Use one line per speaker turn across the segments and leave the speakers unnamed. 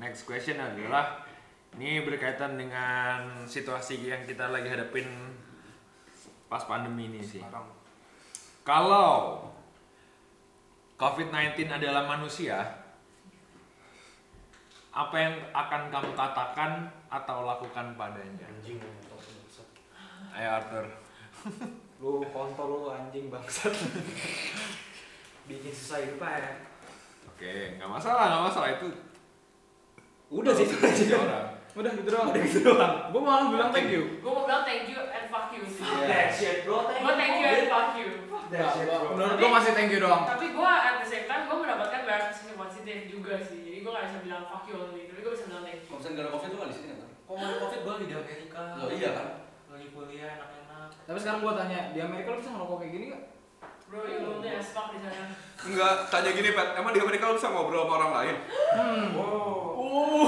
next question adalah ini berkaitan dengan situasi yang kita lagi hadapin pas pandemi ini sih.
Sekarang.
Kalau COVID-19 adalah manusia, apa yang akan kamu katakan atau lakukan padanya?
Anjing kontol bangsat.
Ayo Arthur.
Lu kontol lu anjing bangsat. Bikin susah hidup ya.
Oke, nggak masalah, nggak masalah itu.
Udah Iya. sih itu
Tiga
aja.
orang.
Udah gitu doang.
Udah gitu doang.
Gue malah bilang thank you.
Gue mau bilang thank you and fuck you sih.
Fuck that shit bro.
Gue thank you and fuck you.
Fuck
Iya,
that shit bro.
Menurut gue masih thank you doang.
Tapi gue at the same time gue mendapatkan banyak sisi positif juga sih. Jadi gue gak bisa bilang fuck you only, tapi gue bisa bilang thank you.
Kalau misalnya gak ada covid tuh gak di sini kan?
Kok mau covid gue lagi di Amerika.
Loh iya kan?
Lagi kuliah enak-enak.
Tapi sekarang gue tanya, di Amerika lu bisa ngerokok kayak gini gak?
Bro, you lonely as fuck di sana.
Enggak, tanya gini Pat, emang di Amerika lo bisa ngobrol sama orang lain?
Wow.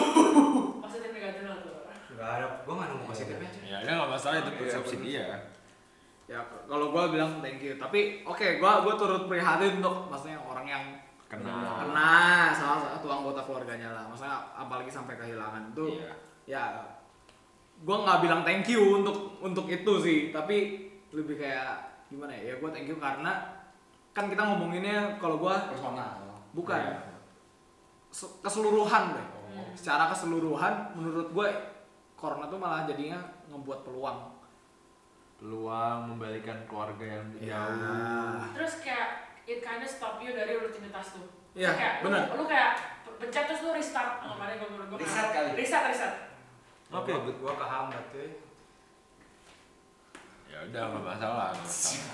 Positif negatif lah tuh.
Gak ada. Gue gak nemu positifnya. aja.
Ya, udah nggak masalah itu
Iya,
persepsi
bener.
dia.
Ya kalau gue bilang thank you. Tapi oke, gue gue turut prihatin untuk maksudnya orang yang
Kena.
kena salah satu anggota keluarganya lah. Maksudnya apalagi sampai kehilangan itu.
Iya.
ya gue nggak bilang thank you untuk untuk itu sih tapi lebih kayak gimana ya ya gue thank you karena kan kita ngomonginnya kalau gue
Personal.
bukan
Iya. Oh.
se- keseluruhan deh
Hmm.
secara keseluruhan menurut gue corona tuh malah jadinya ngebuat peluang
Peluang membalikan keluarga yang
Ah.
jauh.
Terus kayak it kinda stop you dari rutinitas tuh.
Iya,
Kayak lu-
bener.
Lu kayak pencet terus lu restart. Oh, kemarin gue menurut gue.
Reset kali.
Reset, reset.
Oke.
Gue kehambat cuy.
Ya udah nggak masalah. nggak masalah.